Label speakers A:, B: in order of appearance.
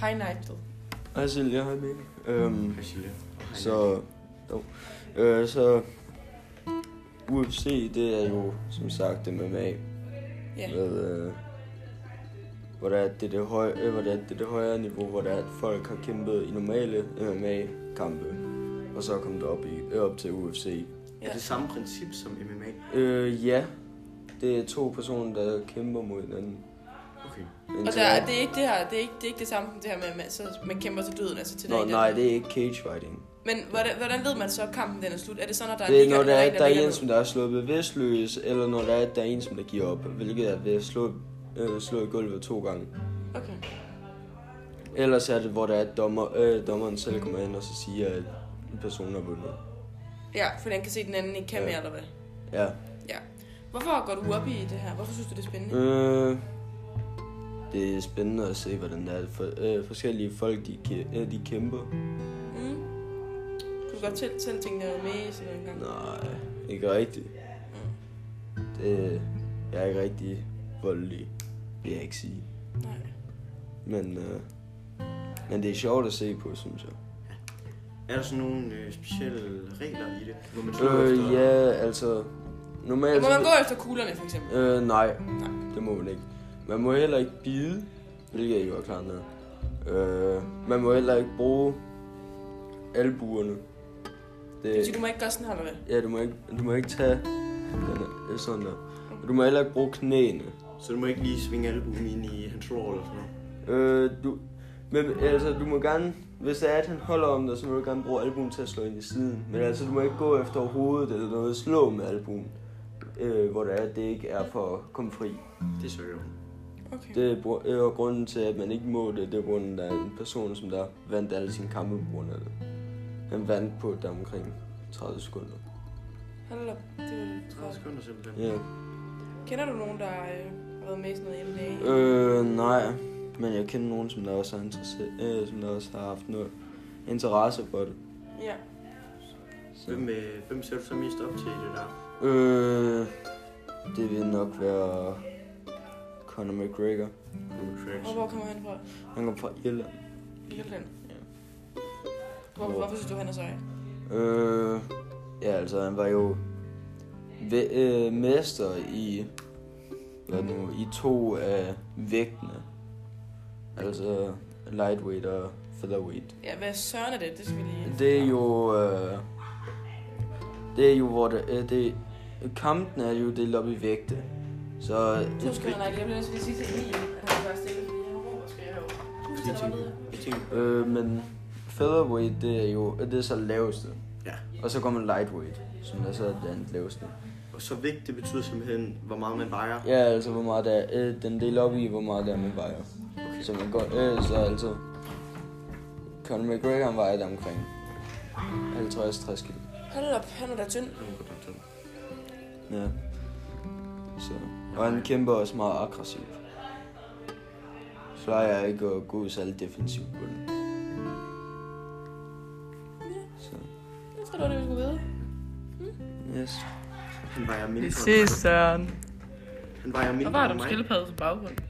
A: Hej Nigel.
B: Hej Silja, hej Mikkel. Øhm,
C: Priscilla.
B: så, jo. Øh, så, UFC, det er jo som sagt MMA.
A: Ja.
B: Med, øh, hvor der er det, det, høj, øh, hvor der er det, det højere niveau, hvor der er, at folk har kæmpet i normale MMA-kampe. Og så er kommet op, i, øh, op til UFC.
C: Er det samme princip som MMA?
B: Øh, ja. Det er to personer, der kæmper mod hinanden.
C: Okay.
A: Og der, er- det er ikke det her, det er ikke det, er ikke det samme som det her med, at man, så man kæmper til døden, altså til
B: Nå,
A: den.
B: nej, det er ikke cage fighting.
A: Men hvordan, hvordan ved man så, at kampen den er slut? Er det så, når der er
B: Det er,
A: ligger-
B: når der er,
A: en,
B: der er
A: ligger
B: en,
A: ned?
B: som der er slået bevidstløs, eller når der er, der er en, som der giver op, hvilket er ved at slå, øh, slå i gulvet to gange.
A: Okay.
B: Ellers er det, hvor der er, at dommer, øh, dommeren selv kommer ind og så siger, at en person har vundet.
A: Ja, for den kan se, at den anden ikke kan
B: Ja.
A: mere, eller hvad?
B: Ja.
A: Ja. Hvorfor går du op i det her? Hvorfor synes du, det er spændende?
B: Øh, det er spændende at se, hvordan det er. For, øh, forskellige folk, de, kæ- øh, de kæmper.
A: Mm. Kunne du godt selv, selv tænke dig at være med i sådan en gang? Mm.
B: Nej, ikke rigtigt. Det, jeg er ikke rigtig voldelig, vil jeg ikke sige.
A: Nej.
B: Men, øh, men det er sjovt at se på, synes jeg.
C: Er der sådan nogle øh, specielle regler i det? Må man slå
B: Øh,
C: efter?
B: ja, altså... Normalt...
A: Må man gå efter kuglerne, for eksempel?
B: Øh, nej.
A: Nej.
B: Det må man ikke. Man må heller ikke bide, hvilket jeg jo er klar med. Øh, man må heller ikke bruge albuerne.
A: Det betyder, du må ikke gøre sådan her, eller hvad?
B: Ja, du må ikke, du må ikke tage den her, øh, sådan der. Og du må heller ikke bruge knæene.
C: Så du må ikke lige svinge albuen ind i hans roll eller sådan noget?
B: Øh, du, men altså, du må gerne, hvis det er, at han holder om dig, så må du gerne bruge albuen til at slå ind i siden. Men altså, du må ikke gå efter hovedet eller noget, slå med albuen, øh, hvor det er, at det ikke er for at komme fri.
C: Det så jo.
A: Okay.
B: Det er br- øh, og grunden til, at man ikke må det, det er grunden, der er en person, som der vandt alle sine kampe på grund af det. Han vandt på der omkring 30 sekunder.
A: Hold op. Det var det,
C: 30
A: tror
C: sekunder simpelthen.
B: Ja.
A: jeg. Kender du nogen, der øh, har været med i sådan noget hjemme dag?
B: Øh, nej. Men jeg kender nogen, som der også har, interesse- øh, som der også har haft noget interesse for det.
A: Ja.
B: Så.
C: Hvem, øh, hvem ser du så mest op til i det der?
B: Øh, det vil nok være Conor McGregor.
A: Og hvor kommer han fra?
B: Han kommer fra Irland.
A: Irland.
B: Ja.
A: Hvor,
B: Hvor-
A: hvorfor synes du, han er sej?
B: Øh, ja, altså han var jo ve- øh, mester i, hvad nu, i to af vægtene. Altså lightweight og featherweight.
A: Ja, hvad søren er det? Det skal vi lige...
B: Det er jo, øh, det er jo, hvor det, øh, det kampen er jo delt op i vægte. Så
A: To sekunder, nej, jeg bliver nødt til lige sige til Emil, at han bare stille, fordi han har råb og skriger herovre. Du
C: Jeg
A: stiller dig ned.
C: tænker, jeg tænker,
B: Øh, men featherweight, det er jo det er så laveste.
C: Ja.
B: Og så kommer lightweight, som er så den laveste.
C: og så vægt, det betyder simpelthen, hvor meget man vejer.
B: Ja, altså hvor meget der er, øh, den del op i, hvor meget der er, man vejer.
C: Okay.
B: Så man går, øh, så altså, Conor McGregor han vejer der omkring 50-60 kilo.
A: Hold op, han er da tynd.
B: Ja. Så. Og han kæmper også meget aggressivt. Plejer jeg ikke at gå særlig defensivt på den. Så,
A: Jeg tror, det var det, vi skulle vide.
B: yes.
C: Han vejer mindre.
D: Søren.
C: Han vejer mindre
D: Hvor var
C: end
D: der
C: mig.
D: skildpadde som baggrund?